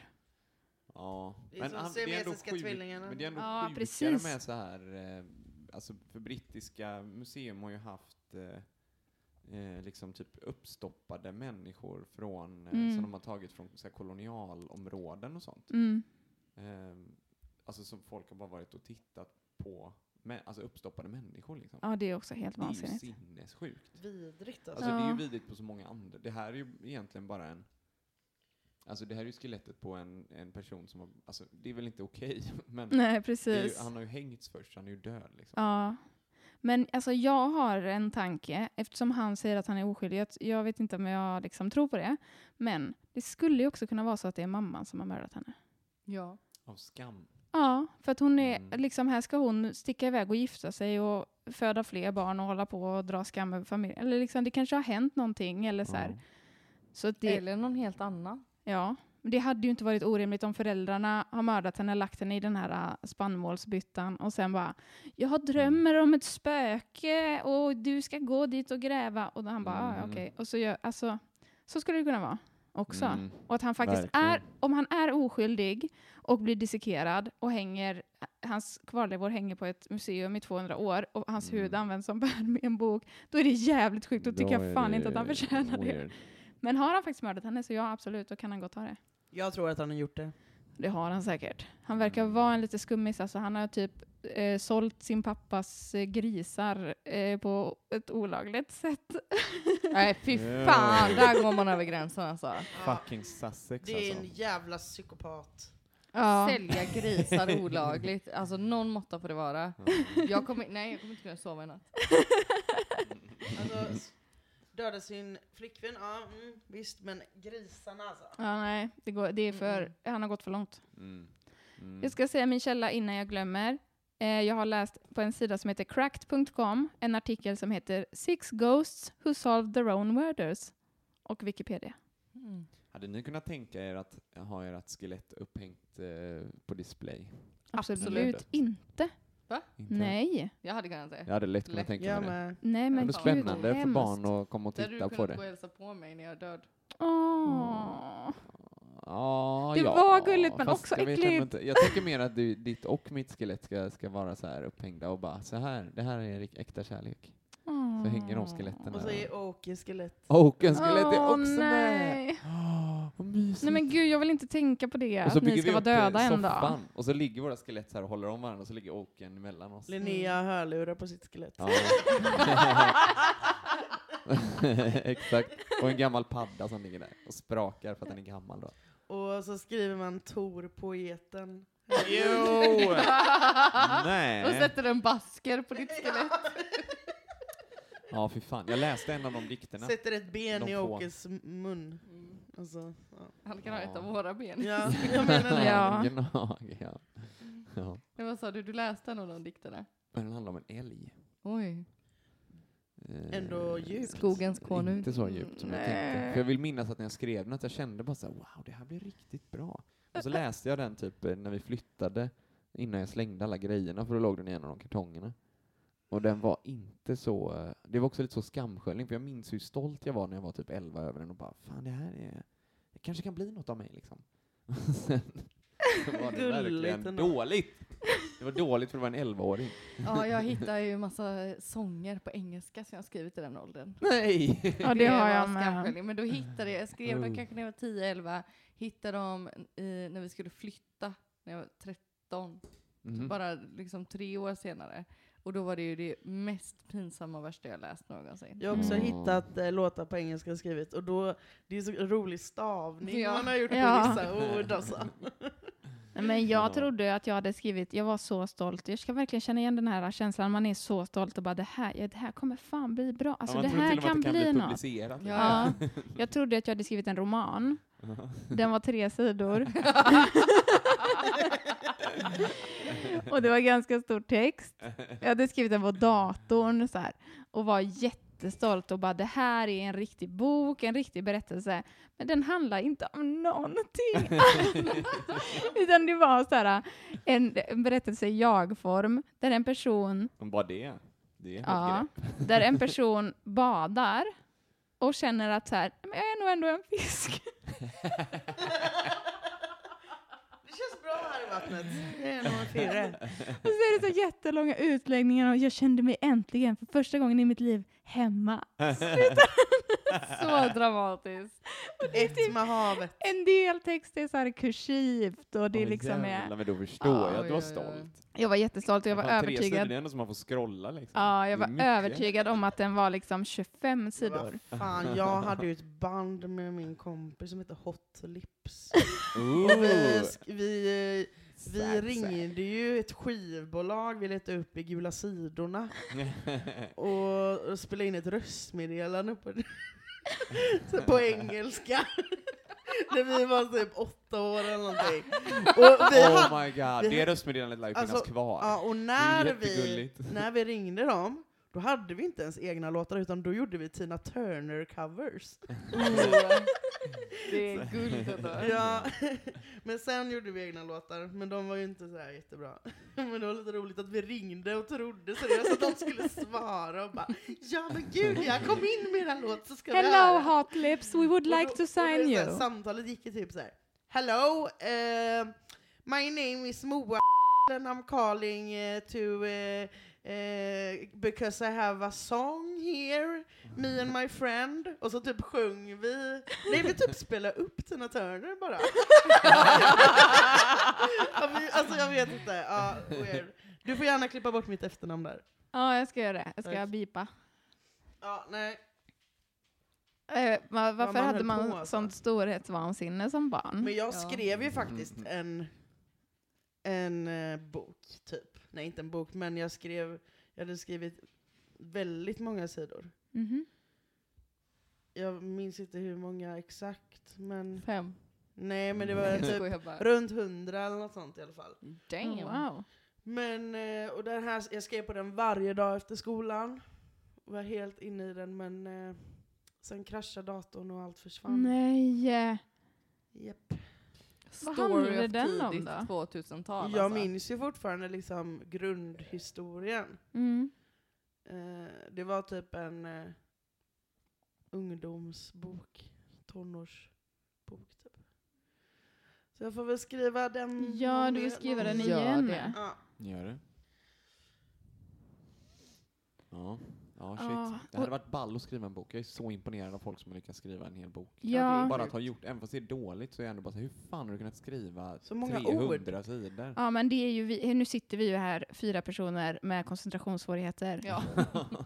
Ja. Det är som det är ändå siamesiska sjukt- tvillingarna. Men det är ändå Ja, sjukare precis. med så här... Eh, alltså, för brittiska museum har ju haft eh, eh, liksom typ uppstoppade människor från, eh, Mm. som de har tagit från så här, kolonialområden och sånt. Mm. Ehm, alltså som folk har bara varit och tittat på, mä- alltså uppstoppade människor liksom. Ja, det är också helt det är ju vansinnigt. sinnessjukt. Vidrigt alltså. Alltså det är ju Ja. vidrigt på så många andra. Det här är ju egentligen bara en... Alltså det här är ju skelettet på en, en person som har... Alltså det är väl inte okej, men Nej, det är ju, precis. han har ju hängts först, han är ju död liksom. Ja. Men alltså, jag har en tanke, eftersom han säger att han är oskyldig. att- Jag vet inte om jag liksom tror på det. Men det skulle ju också kunna vara så att det är mamman som har mördat henne. Ja. Av skam. Ja, för att hon är, Mm. liksom, här ska hon sticka iväg och gifta sig och föda fler barn och hålla på och dra skam över familjen. Eller liksom, det kanske har hänt någonting eller så här. Så att det, Eller någon helt annan. ja. Men det hade ju inte varit orimligt om föräldrarna har mördat henne, lagt henne i den här äh, spannmålsbyttan och sen bara “Jag drömmer om ett spöke och du ska gå dit och gräva” och då han bara ah, Mm. “okej”. Och så, gör, alltså, så skulle det kunna vara också. Mm. Och att han faktiskt Verkligen. är, om han är oskyldig och blir dissekerad och hänger, hans kvarlevor hänger på ett museum i 200 år och hans Mm. hud används som pärm i en bok, då är det jävligt sjukt. Då tycker jag fan inte att han förtjänar det. Men har han faktiskt mördat henne så ja, absolut, då kan han gott ha det. Jag tror att han har gjort det. Det har han säkert. Han verkar vara en lite skummis, alltså han har typ eh, sålt sin pappas eh, grisar eh, på ett olagligt sätt. Nej fy Ja. fan, där går man över gränsen alltså. Fucking Sussex Det är en alltså. jävla psykopat. Ja. Sälja grisar olagligt. Alltså någon måtta får det vara. Jag kommer, nej, jag kommer inte kunna sova i natt. Alltså, s- döda sin flickvän, ja mm, visst, men grisarna alltså. Ja, nej, det, går, det är för, Mm. han har gått för långt. Mm. Mm. Jag ska säga min källa innan jag glömmer. Eh, jag har läst på en sida som heter cracked.com en artikel som heter Six Ghosts Who Solved Their Own Murders och Wikipedia. Mm. Hade ni kunnat tänka er att ha ert skelett upphängt eh, på display? Absolut, Absolut. inte. Inte? Nej. Jag hade kunnat det. Jag hade lätt kunnat Lätt. tänka Jag mig det. med. Nej men Men det det är är gud, spännande för hemskt. barn att komma och Där hade du titta kunnat på gå och det. hälsa på mig när jag är död. Åh. Ja, Det ja. var gulligt, men Fast också jag vet äckligt. ändå Inte. Jag tycker mer att du, ditt och mitt skelett ska, ska vara så här upphängda och bara så här, det här är rik- äkta kärlek. Mm. Så hänger de skeletten Och så där. är Åke skelett. Oken skelett är Åh, också med! nej. Åh, vad mysigt. Nej men gud, jag vill inte tänka på det. och så Att bygger ni ska vi vara upp, eh, döda en dag. soffan, Och så ligger våra skelett så här och håller om varandra och så ligger Oken mellan oss. Linnea har hörlurar på sitt skelett. Ja. Exakt. Och en gammal padda som ligger där och sprakar för att den är gammal då. Och så skriver man Tor poeten. Jo! Och Nej. sätter en basker på ditt skelett. Ja, fy fan. Jag läste en av de dikterna. Sätter ett ben De i får. Åkes mun. Och så, ja. Han kan ha ett av Ja. våra ben. ja, jag menar det. Ja. Gnag, ja. ja. Men vad sa du, du läste en av de dikterna? Men den handlar om en älg. Oj. Eh, Ändå djupt. Mm, Skogens konung. Inte så djupt som jag tänkte. För jag vill minnas att när jag skrev något jag kände bara så här, wow, det här blir riktigt bra. Och så läste jag den typ eh, när vi flyttade, innan jag slängde alla grejerna, för då låg den i en av de kartongerna. Och den var inte så, eh, det var också lite så skamsköljning, för jag minns hur stolt jag var när jag var typ 11 över den och bara, fan det här är, det kanske kan bli något av mig liksom. Och Sen så var det Gulligt verkligen ändå. dåligt. Det var dåligt för det var en 11-åring. Ja, jag hittar ju massa sånger på engelska som jag har skrivit i den åldern. Nej! Ja, det har var jag med. skamskällning, Men då hittade jag, jag skrev Mm. dem kanske när jag var 10-11, hittade dem i, när vi skulle flytta, när jag var 13. Mhm. Bara liksom tre år senare. Och då var det ju det mest pinsamma och värsta jag läst någonsin. Jag har också Mm. hittat eh, låtar på engelska skrivet, och då, det är så rolig stavning Ja. man har gjort Ja. på vissa ord alltså. Nej, men jag Ja. trodde att jag hade skrivit, jag var så stolt. Jag ska verkligen känna igen den här känslan, man är så stolt och bara det här, ja, det här kommer fan bli bra. Alltså Ja, man det tror här till och med att kan, det bli bli något. publicerat. Ja. Jag trodde att jag hade skrivit en roman. Den var tre sidor. och det var ganska stor text. Jag hade skrivit den på datorn så här, och var jättestolt och bara det här är en riktig bok, en riktig berättelse. Men den handlar inte om någonting annat. Utan det var så här, en, en berättelse i jag-form där en person Men bara det. Det är Ja, ja. där en person badar och känner att så här, "Men jag är nog ändå en fisk. Det känns bra här i vattnet. Det är nog en firre. Och så är det så jättelånga utläggningar och jag kände mig äntligen för första gången i mitt liv hemma. Så dramatiskt. typ Ett med havet. En del text är så här kursivt och det liksom är... Men då förstår jag att du var Oj, oj, oj. stolt. Jag var jättestolt och jag var Fan, Tre sidor, övertygad. det är ändå som man får scrolla liksom. Ja, jag Det var är mycket. övertygad om att den var liksom 25 sidor. Fan, jag hade ju ett band med min kompis som hette Hot Lips. Och vi, Ooh. sk- vi, eh, vi Sad, ringde ju ett skivbolag vi letade upp i Gula sidorna sad. och, och spelade in ett röstmeddelande på, så på engelska. När vi var typ åtta år eller någonting. Och vi hade oh my god, vi det hade- röstmeddelandet lär ju finnas Alltså, kvar. Ja, och när vi, jättegulligt. när vi ringde dem, då hade vi inte ens egna låtar, utan då gjorde vi Tina Turner-covers. Det är guld ändå. Ja. Men sen gjorde vi egna låtar, men de var ju inte så här jättebra. Men det var lite roligt att vi ringde och trodde seriöst att de skulle svara och bara Ja men gud ja, kom in med den låt så ska vi Hello höra." hot lips, we would like Och då- to och då är det sign så här, you. Samtalet gick ju typ så här. Hello, eh, my name is Moa and I'm calling eh, to eh, eh, because I have a song here, me and my friend. Och så typ sjöng vi, nej vi typ spelade upp Tina Turner bara. Ja, men, alltså jag vet inte, ja, weird. Du får gärna klippa bort mitt efternamn där. Ja, jag ska göra det. Jag ska Tack. bipa. Ja, nej. Eh, va- varför man hade höll man på, alltså. sånt storhetsvansinne som barn? Men jag Ja. skrev ju faktiskt en, en eh, bok, typ. Nej, inte en bok, men jag skrev, jag hade skrivit väldigt många sidor. Mhm. Jag minns inte hur många exakt, men Fem. nej, men det var Jag typ skojar bara. runt hundra eller något sånt i alla fall. Damn. Oh, wow. Men, eh, och den här, jag skrev på den varje dag efter skolan. Var helt inne i den, men eh, Sen kraschade datorn och allt försvann. Nej. Japp. Vad handlade of den om tidigt då? 2000-tal Jag alltså. minns ju fortfarande liksom grundhistorien. Mm. Eh, det var typ en eh, ungdomsbok, tonårsbok typ. Så jag får väl skriva den. Ja, någon du vill mer- skriva någon- den Gör igen. det. Ja. Gör det. Ja, ja shit. Ja, Det hade och- varit ball att skriva en bok. Jag är så imponerad av folk som har lyckats skriva en hel bok. Ja. Bara att ha gjort, även fast det är dåligt, så är jag ändå bara så här, hur fan har du kunnat skriva Så många 300 sidor? Ja, men det är ju vi, nu sitter vi ju här, fyra personer med koncentrationssvårigheter. Ja.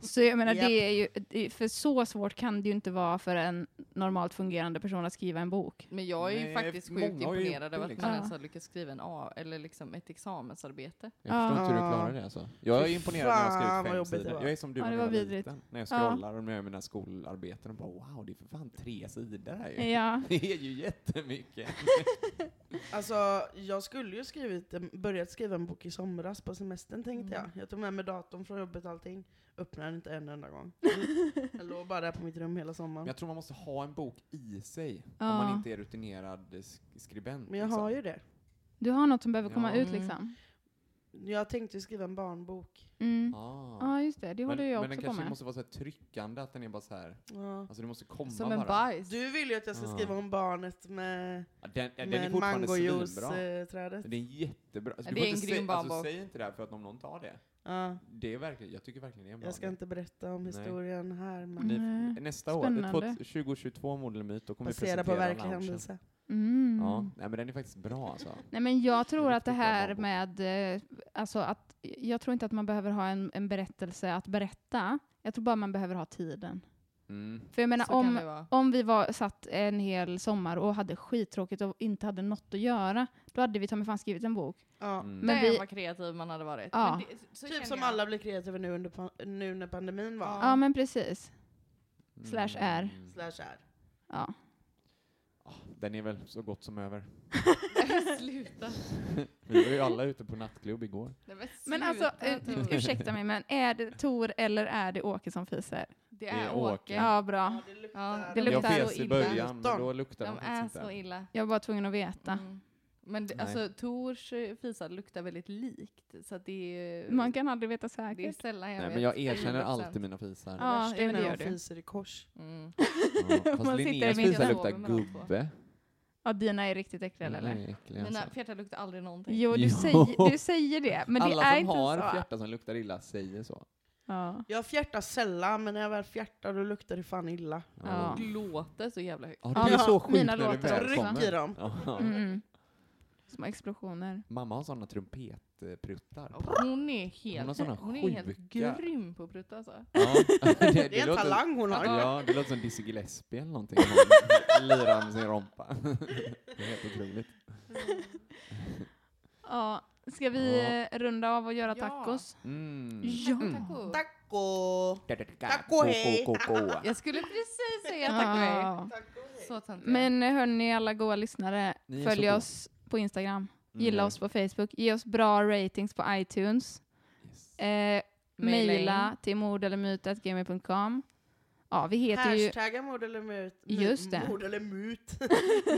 Så jag menar, Japp. det är ju, det- för så svårt kan det ju inte vara för en normalt fungerande person att skriva en bok. Men jag är ju Nej, faktiskt många sjukt har ju gjort imponerad det, över att liksom. man Ja. ens har lyckats skriva en A, eller liksom ett examensarbete. Jag förstår inte hur du Ja. klarar det alltså. Jag är Fy imponerad när jag fan, har vad skrivit fem jobbigt det sidor. var. Jag är som du Ja, när det jag var var vidrigt. liten. När jag Ja. scrollar och när jag gör mina skolarbeten och bara wow, det är för fan tre sidor här ju. Ja. Det är ju jättemycket. Alltså, jag skulle ju skrivit, en- börjat skriva en bok i somras på semestern tänkte Mm. jag. Jag tog med mig datorn från jobbet och allting. Öppnade den inte en enda gång. Jag låg bara där på mitt rum hela sommaren. Men jag tror man måste ha en bok i sig Ja. om man inte är rutinerad eh, sk- skribent. Men jag liksom. har ju det. Du har något som behöver komma Ja. ut Mm. liksom. Jag tänkte ju skriva en barnbok. Mm. Ah. Ja, just det. Det men, håller jag men den också på kanske med. måste vara så här tryckande, att den är bara så här, Ja. alltså du måste komma Som en bara. bajs. Du vill ju att jag ska Ja. skriva om barnet med, Ja, Den, ja, den är med fortfarande eh, svinbra. mangojuice-trädet. Den är jättebra. Alltså, du Det får är en inte grym säga, alltså, barnbok. säg inte det här för att om någon tar det. Ja. det är verkligen, jag tycker verkligen det är en bra Jag ska idé. inte berätta om Nej. Mm. historien här, men Ni- Nej. Nästa Spännande. år, två- 2022 modelmyt, då kommer vi basera presentera på verklig loungen. händelse. Mm. Ja, nej, men den är faktiskt bra alltså. Nej, men jag tror är att det riktigt bra här barnbok. med... eh, Alltså att, jag tror inte att man behöver ha en, en berättelse att berätta. Jag tror bara man behöver ha tiden. Mm. För jag menar, Så kan om, det vara. om vi var, satt en hel sommar och hade skittråkigt och inte hade något att göra, då hade vi ta mig fan skrivit en bok. Ja. Mm. Men Men vi- vi... vad kreativ man hade varit. Ja. Men det, så känner Typ som jag. alla blir kreativa nu, under, pan- nu när pandemin var. Ja, men precis. slash är. Mm. Slash är. Ja. Ah, Den är väl så gott som över. Sluta. Vi var ju alla ute på nattklubb igår. Nej, men, Men sluta, alltså, Tor. ursäkta mig, men är det Tor eller är det Åke som fiser? Det Det är är Åke. Åke. Äh, Ja, bra. det Ja, det Jag luktar fes så i illa. början, men då luktar De den är faktiskt så inte. illa. Jag var tvungen att veta. Mm. Men det, Nej. alltså Tors eh, fisar luktar väldigt likt. Så att det är, Man kan aldrig veta det är säkert. sällan jag Nej, vet. men jag erkänner 100%. alltid mina fisar. Ja, värsta är men det när gör de du. fiser i kors. Mm. Ja, Man fast sitter i Linneas min- fisar Jag luktar sover med de två. gubbe. Ja, dina är riktigt äckliga, De eller? är äckliga, Mina alltså. fjärtar luktar aldrig någonting. Jo, du, Jo. Säger, du säger det, men det Alla är som inte har så. fjärtar som luktar illa säger så. Ja. Jag fjärtar sällan, men när jag väl fjärtar då luktar det fan illa. Ja. Och låter så jävla högt. Ja, Ja, det är så sjukt mina när du låter väl också. kommer. Ryck i dem. Ja. Mm. Små explosioner. Mamma har såna trumpetpruttar. Och Hon är helt, Hon har hon såna är helt sjuka- grym på att prutta alltså. Ja, det, Det är en talang hon har. Ja, det låter som Dizzy Gillespie eller någonting. Hon lirar med sin rompa. Det är helt otroligt. Ja, ska vi eh, runda av och göra Ja. tacos? Mm. Ja. Taco. Taco! Taco, hej. ko, ko, ko. Jag skulle precis säga tack och hej. Ja. Så töntig. Men eh, hörni, alla goa lyssnare, Ni är så följ goa. oss på Instagram, Mm. gilla oss på Facebook, ge oss bra ratings på iTunes, Yes. eh, Mejla in. mejla till mordellermyt.gmail.com. Ja, vi heter ju... Hashtagga mord eller mut. mu- Just det. Mord eller mut.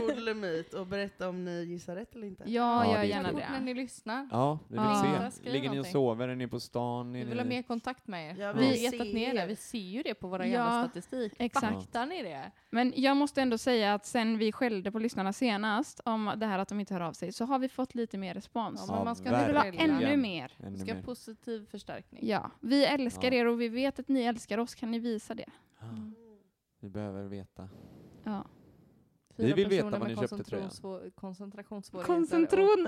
mord eller mut. Och berätta om ni gissar rätt eller inte. Ja, Ja, gör det är gärna kul. när det. ni lyssnar. Ja, vi vill Ja. se. Skriv Ligger ni och någonting. sover? Är ni på stan? Vi Är vill ha ni- mer kontakt med er. Ja, vi har vi jättat ner ser. det. Vi ser ju det på våra Ja, jävla statistik. exakt. Fattar ni det? Men jag måste ändå säga att sen vi skällde på lyssnarna senast om det här att de inte hör av sig, så har vi fått lite mer respons. Ja, men man ska Vi vill ha verkligen. ännu mer. Ännu Vi ska ha mer. positiv förstärkning. Ja, vi älskar Ja. er och vi vet att ni älskar oss. Kan ni visa det? Ja, Vi behöver veta. Ja. Fyra Vi vill veta personer vad ni med köpte tröjan. koncentrationssvå- Koncentrationssvårigheter. Koncentron!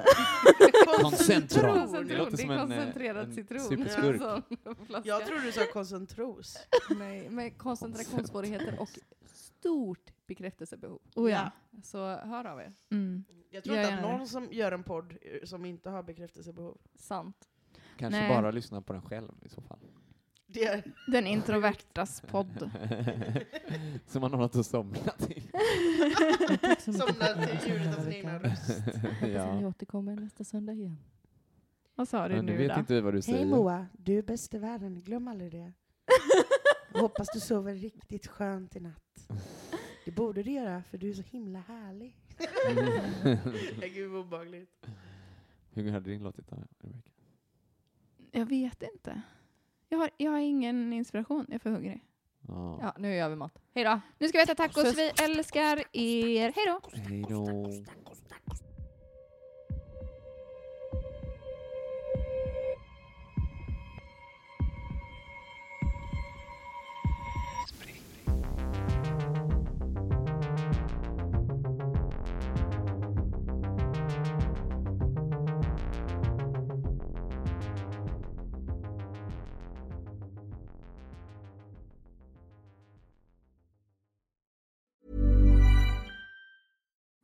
Koncentron. Koncentron, Det låter som en, eh, koncentrerad en citron. superskurk. Sån flaska. Jag tror du sa koncentros. Nej, men koncentrationssvårigheter och stort bekräftelsebehov. Oh ja. Så hör av er. Mm. Jag tror Jag inte att gör det. någon som gör en podd eh, som inte har bekräftelsebehov. Sant. Kanske Nej. bara lyssna på den själv i så fall. Det är Den introvertas podd. så man har något att somna till. som när ljudet av sin egna röst. ja. återkommer nästa söndag igen. Vad sa du Men nu vet då? inte vad du säger. Hej Moa, du är bäst i världen, glöm aldrig det. Hoppas du sover riktigt skönt i natt. Det borde du göra, för du är så himla härlig. Nej, Gud vad obehagligt. Hur hade din låt idag, Rebecca? Jag vet inte. Jag har, jag har ingen inspiration. Jag är för hungrig. Ja. Ja, nu gör vi mat. Hej då. Nu ska vi äta tacos. Vi älskar er. Hej då! Hej då.